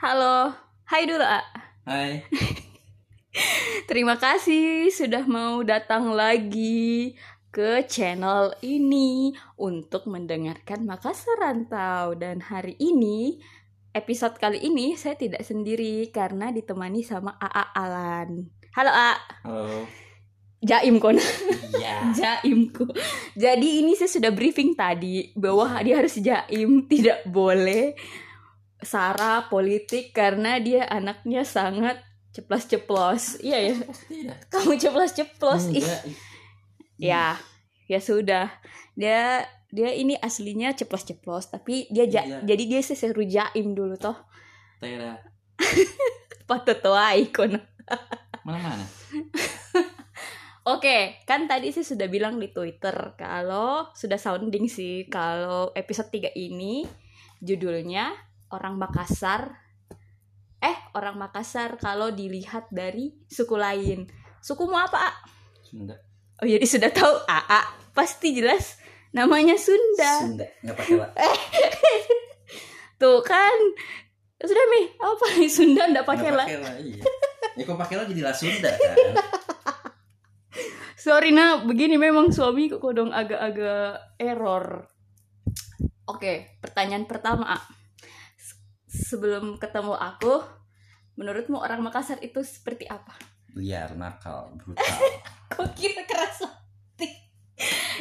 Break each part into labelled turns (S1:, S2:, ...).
S1: Halo, hai dulu A.
S2: Hai,
S1: Terima kasih sudah mau datang lagi ke channel ini untuk mendengarkan Makassar Rantau dan hari ini episode kali ini saya tidak sendiri karena ditemani sama AA Alan. Halo A,
S2: halo.
S1: Jaim kon.
S2: Iya.
S1: Jaimku. Jadi ini saya sudah briefing tadi bahwa dia harus jaim, tidak boleh sara politik karena dia anaknya sangat ceplos-ceplos. Iya ya,
S2: Tidak.
S1: kamu ceplos-ceplos. Ih,
S2: Enggak.
S1: Ya, ya sudah. Dia dia ini aslinya ceplos-ceplos, tapi dia ja-
S2: Iya.
S1: jadi dia seseru jaim dulu toh.
S2: Tera.
S1: Patotoa ikon.
S2: Mana mana?
S1: Oke, kan tadi sih sudah bilang di Twitter kalau sudah sounding sih kalau episode 3 ini judulnya Orang Makassar eh orang Makassar kalau dilihat dari suku lain. Sukumu apa, A?
S2: Sunda.
S1: Oh, jadi sudah tahu AA. Pasti jelas namanya Sunda.
S2: Sunda. Enggak pakai lah.
S1: Tuh kan. Sudah Mi, apa nih Sunda enggak pakai lah.
S2: Iya. Ya kok pakai lah jadi lah Sunda kan?
S1: Sorry nah, begini memang suami kok kodong agak-agak error. Oke, pertanyaan pertama. A. Se- Sebelum ketemu aku, menurutmu orang Makassar itu seperti apa?
S2: Liar, nakal, brutal.
S1: Kok kira keras hati?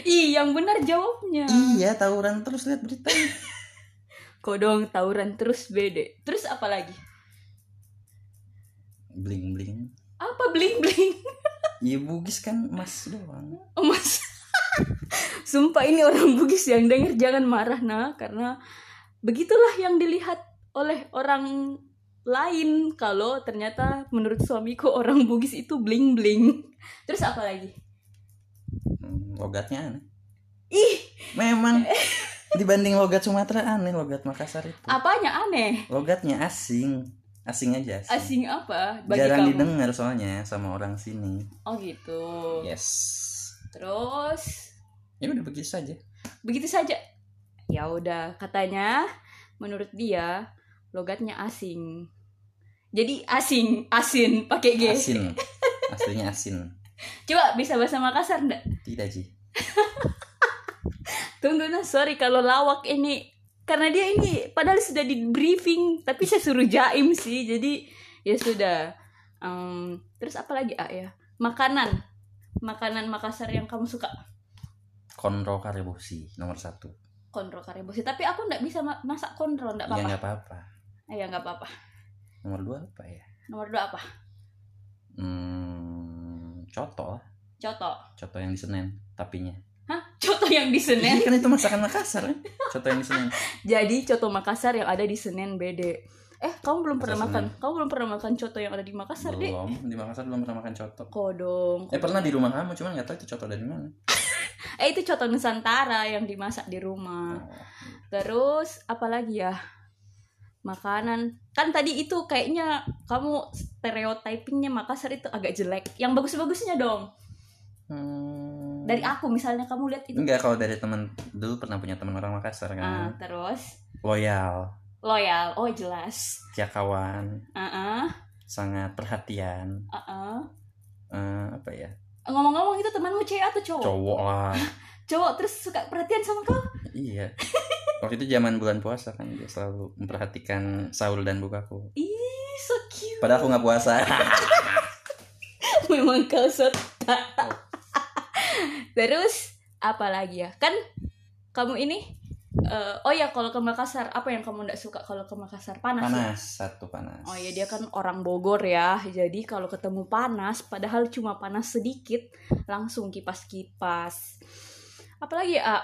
S1: Ih, yang benar jawabnya.
S2: iya, tawuran terus lihat berita.
S1: Kodong tawuran terus bede. Terus apa lagi?
S2: Bling bling.
S1: Apa bling-bling?
S2: Iya bugis kan emas doang.
S1: Oh, Mas. Sumpah ini orang Bugis yang denger jangan marah nah karena begitulah yang dilihat oleh orang lain kalau ternyata menurut suamiku orang Bugis itu bling-bling. Terus apa lagi?
S2: Hmm, Logatnya aneh.
S1: Ih,
S2: Memang dibanding logat Sumatera aneh logat Makassar itu.
S1: apanya aneh?
S2: Logatnya asing. Asing aja. Asing.
S1: Asing apa bagi
S2: Jarang
S1: kamu?
S2: didengar soalnya sama orang sini.
S1: Oh gitu.
S2: Yes.
S1: Terus
S2: Ya udah begitu saja.
S1: begitu saja. Ya udah, katanya menurut dia logatnya asing. Jadi asing, asin pakai G.
S2: Asin. Aslinya asin.
S1: Coba bisa bahasa Makassar ndak?
S2: Tidak sih.
S1: Tunggu nah, sorry kalau lawak ini karena dia ini padahal sudah di briefing tapi saya suruh jaim sih jadi ya sudah. Em, terus apa lagi ah ya makanan makanan Makassar yang kamu suka
S2: Konro Karebosi nomor satu.
S1: konro karebosi tapi aku ndak bisa ma- masak konro ndak
S2: Ya
S1: apa-apa
S2: nggak apa-apa.
S1: ya nggak apa-apa
S2: Nomor dua apa ya?
S1: nomor dua apa
S2: Hmm, coto lah.
S1: coto
S2: Coto yang di Senen. Tapinya.
S1: coto yang di Senen
S2: Iya kan itu masakan Makassar. ya? Coto yang di Senen.
S1: jadi coto Makassar yang ada di Senen bede eh kamu belum pernah makan
S2: Makassar
S1: kamu belum pernah makan coto yang ada di Makassar deh
S2: Belum. Di Makassar belum pernah makan coto.
S1: kodong
S2: Eh pernah di rumah kamu, cuman nggak tahu itu coto dari mana.
S1: Eh itu coto Nusantara yang dimasak di rumah.
S2: Oh.
S1: Terus apalagi ya? Makanan. Kan tadi itu kayaknya kamu stereotypingnya Makassar itu agak jelek. Yang bagus-bagusnya dong.
S2: Hmm.
S1: Dari aku misalnya kamu lihat itu.
S2: Enggak, kalau dari teman dulu pernah punya teman orang
S1: Ah,
S2: Makassar kan.
S1: terus
S2: Loyal,
S1: loyal. Oh jelas.
S2: setia kawan,
S1: Heeh,
S2: sangat perhatian.
S1: heeh.
S2: Eh, apa ya?
S1: Ngomong-ngomong itu temanmu cewek atau cowok?
S2: Cowok lah.
S1: Cowok terus suka perhatian sama kamu.
S2: Iya. Waktu itu zaman bulan puasa kan dia selalu memperhatikan sahur dan bukaku.
S1: Ih, so cute.
S2: Padahal aku nggak puasa.
S1: Memang kau sota. Terus apa lagi ya? Kan kamu ini eh, oh ya kalau ke Makassar apa yang kamu ndak suka kalau ke Makassar panas, ya?
S2: Panas satu panas.
S1: Oh ya dia kan orang Bogor ya. Jadi kalau ketemu panas padahal cuma panas sedikit langsung kipas-kipas. Apalagi ya ah,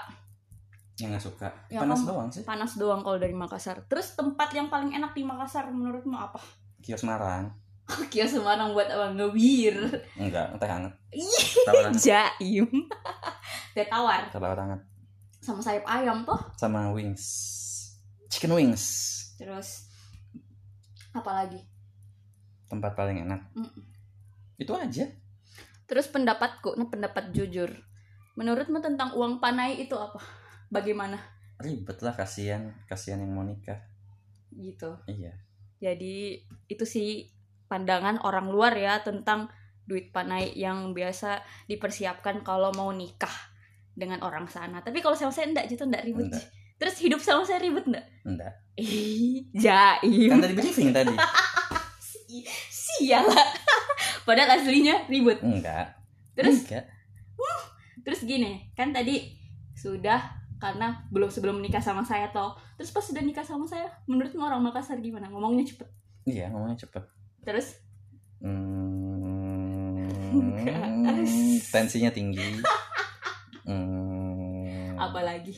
S2: yang nggak suka.
S1: Ya,
S2: panas
S1: kamu-
S2: doang sih.
S1: panas doang kalau dari Makassar. Terus tempat yang paling enak di Makassar menurutmu apa?
S2: Kios Marang.
S1: Kios Semarang buat abang ngebir.
S2: Enggak, teh hangat.
S1: Ih,
S2: Tawar hangat.
S1: Jaim. Teh tawar
S2: Tawar hangat
S1: sama sayap ayam toh.
S2: sama wings. Chicken wings.
S1: Terus apa lagi?
S2: Tempat paling enak.
S1: Mm-mm.
S2: Itu aja.
S1: Terus pendapatku, nah pendapat jujur. Menurutmu tentang uang panai itu apa? Bagaimana
S2: Ribet lah kasihan, kasihan yang mau nikah.
S1: gitu?
S2: Iya.
S1: Jadi itu sih pandangan orang luar ya tentang duit panai yang biasa dipersiapkan kalau mau nikah dengan orang sana. Tapi kalau sama saya enggak gitu enggak ribet.
S2: Enggak.
S1: Terus hidup sama saya ribet enggak?
S2: Enggak.
S1: Ih, jaim.
S2: Kan tadi briefing tadi.
S1: Si- Sial lah. Padahal aslinya ribet.
S2: Enggak.
S1: Terus
S2: Enggak.
S1: terus gini, kan tadi sudah karena belum sebelum menikah sama saya toh. Terus pas sudah nikah sama saya, menurutmu orang Makassar gimana? Ngomongnya cepet.
S2: Iya, ngomongnya cepet.
S1: Terus
S2: Hmm,
S1: Enggak.
S2: tensinya tinggi. Hmm,
S1: apalagi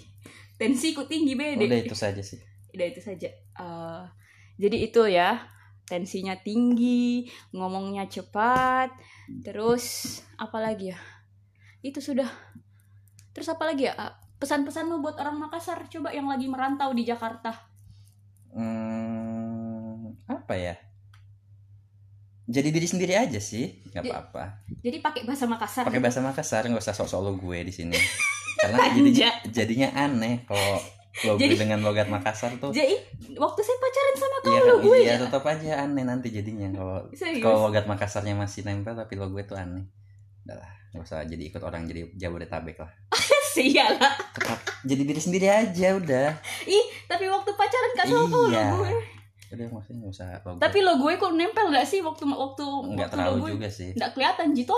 S1: tensiku tinggi bede.
S2: Udah itu saja sih.
S1: Udah itu saja. Eh, jadi itu ya tensinya tinggi, ngomongnya cepat, terus apalagi ya? Itu sudah. Terus apalagi ya? Eh, Pesan-pesanmu buat orang Makassar coba yang lagi merantau di Jakarta.
S2: Hmm, apa ya? Jadi diri sendiri aja sih, nggak
S1: Di-
S2: apa-apa.
S1: Jadi pakai bahasa Makassar.
S2: Pakai bahasa Makassar nggak usah sok-sok lo gue di sini. Karena jadinya, jadinya aneh kalau lo gue
S1: Jadi-
S2: dengan logat Makassar tuh.
S1: Jadi waktu saya pacaran sama kamu
S2: Iya,
S1: lo gue. ya.
S2: iya tetap aja aneh nanti jadinya kalau
S1: Serius.
S2: kalau logat Makassarnya masih nempel tapi lo gue tuh aneh. Udah lah, nggak usah jadi ikut orang jadi Jabodetabek lah.
S1: Sialah.
S2: Tetap jadi diri sendiri aja udah.
S1: Tapi waktu pacaran kan sama kamu lo
S2: Iya.
S1: gue.
S2: Udah maksudnya nggak usah lo gue.
S1: Tapi lo gue kok nempel gak sih waktu waktu waktu lo
S2: nggak terlalu
S1: gue?
S2: juga sih.
S1: Nggak kelihatan gitu.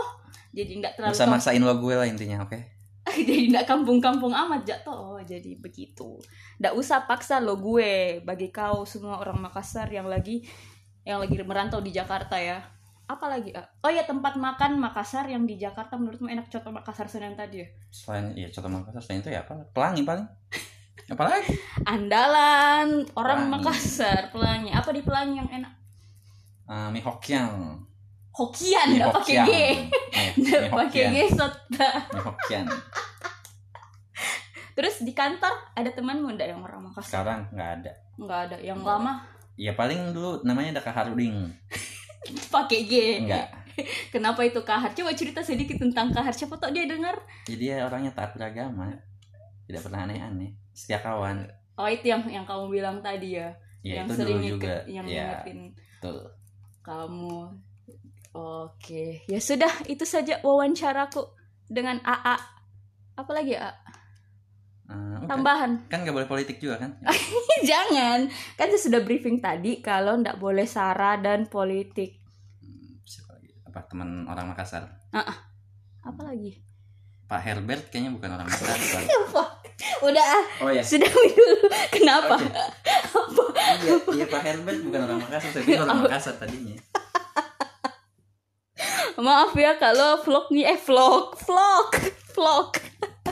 S1: Jadi nggak
S2: Nggak
S1: terlalu
S2: usah maksain lo gue lah intinya, oke?
S1: jadi nggak kampung-kampung amat jatuh oh jadi begitu nggak usah paksa lo gue bagi kau semua orang Makassar yang lagi yang lagi merantau di Jakarta ya apalagi ah? oh ya tempat makan Makassar yang di Jakarta menurutmu enak contoh Makassar Senen tadi ya
S2: selain ya contoh Makassar selain itu ya apa pelangi paling apalagi
S1: andalan orang
S2: Pelangi.
S1: Makassar pelangi apa di pelangi yang enak
S2: Eh mie hokian
S1: Hokian
S2: mie
S1: nggak pakai
S2: Iya, hokian
S1: G
S2: Eh,
S1: nggak
S2: mie
S1: pakai
S2: hokian
S1: G sota.
S2: mie hokian
S1: terus di kantor ada temanmu nggak yang orang Makassar
S2: sekarang nggak ada
S1: nggak ada yang lama
S2: ya paling dulu namanya ada kaharuding
S1: pakai G
S2: enggak
S1: Kenapa itu Kahar? Coba cerita sedikit tentang Kahar. Siapa tau dia dengar?
S2: jadi dia orangnya taat beragama tidak pernah aneh-aneh setia kawan
S1: Oh itu yang yang kamu bilang tadi ya, yang
S2: ya itu dulu
S1: nginget-
S2: juga
S1: yang
S2: ya
S1: ngingetin
S2: betul
S1: kamu. Oke, ya sudah itu saja wawancaraku dengan AA. Apalagi ya, A?
S2: Eh, udah.
S1: tambahan.
S2: kan nggak boleh politik juga kan
S1: Jangan, kan saya sudah briefing tadi kalau ndak boleh sara dan politik.
S2: Hmm, siapa lagi? apa teman orang Makassar
S1: Apalagi?
S2: Pak Herbert kayaknya bukan orang Makassar
S1: Udah, ah,
S2: oh ya
S1: sudah dulu. Kenapa?
S2: Oke.
S1: Apa?
S2: iya iya Pak Herbert bukan orang Makassar saya pikir orang Makassar tadinya
S1: Maaf ya kalau vlog nih eh vlog, vlog, vlog.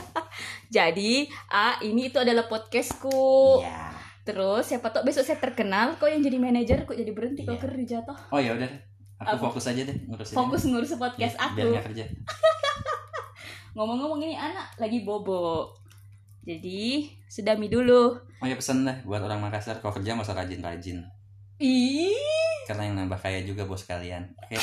S1: Jadi, ah ini itu adalah podcastku.
S2: Iya.
S1: Terus siapa tau besok saya terkenal, kok yang jadi manajer, kok jadi berhenti kok
S2: Iya.
S1: kerja toh.
S2: Oh ya udah, aku
S1: Apa?
S2: fokus aja deh ngurusin.
S1: Fokus ngurus
S2: ini.
S1: podcast
S2: Biar
S1: aku.
S2: nggak kerja.
S1: Ngomong-ngomong ini anak lagi bobo. Jadi, sedami dulu.
S2: Oh ya pesan dah buat orang Makassar kalau kerja masa rajin-rajin
S1: Ih,
S2: karena yang nambah kaya juga bos kalian. Oke,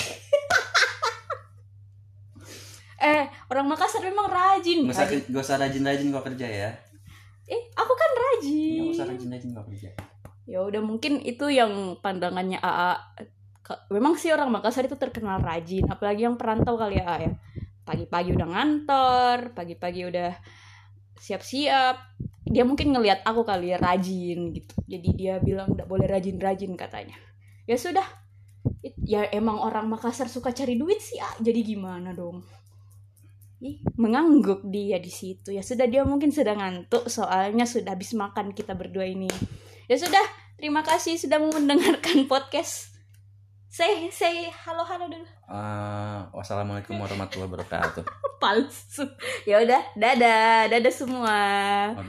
S1: eh orang Makassar memang rajin.
S2: nggak usah
S1: Rajin.
S2: nggak usah rajin-rajin kalau kerja ya.
S1: Eh, aku kan
S2: Nggak usah
S1: rajin.
S2: rajin-rajin kalau kerja.
S1: Ya udah mungkin itu yang pandangannya AA. Ke- Memang sih orang Makassar itu terkenal rajin, apalagi yang perantau kali ya. AA ya. Pagi-pagi udah ngantor, pagi-pagi udah siap-siap. Dia mungkin ngelihat aku kali ya rajin gitu. Jadi dia bilang nggak boleh rajin-rajin katanya. Ya sudah. It- Ya emang orang Makassar suka cari duit sih, A. jadi gimana dong? Ih, mengangguk dia di situ. Ya sudah dia mungkin sedang ngantuk soalnya sudah habis makan kita berdua ini. Ya sudah, terima kasih sudah mau mendengarkan podcast. Say, say halo-halo dulu.
S2: Eh, wassalamualaikum warahmatullahi wabarakatuh.
S1: Palsu. Ya udah, dadah, dadah semua.
S2: Wabillahi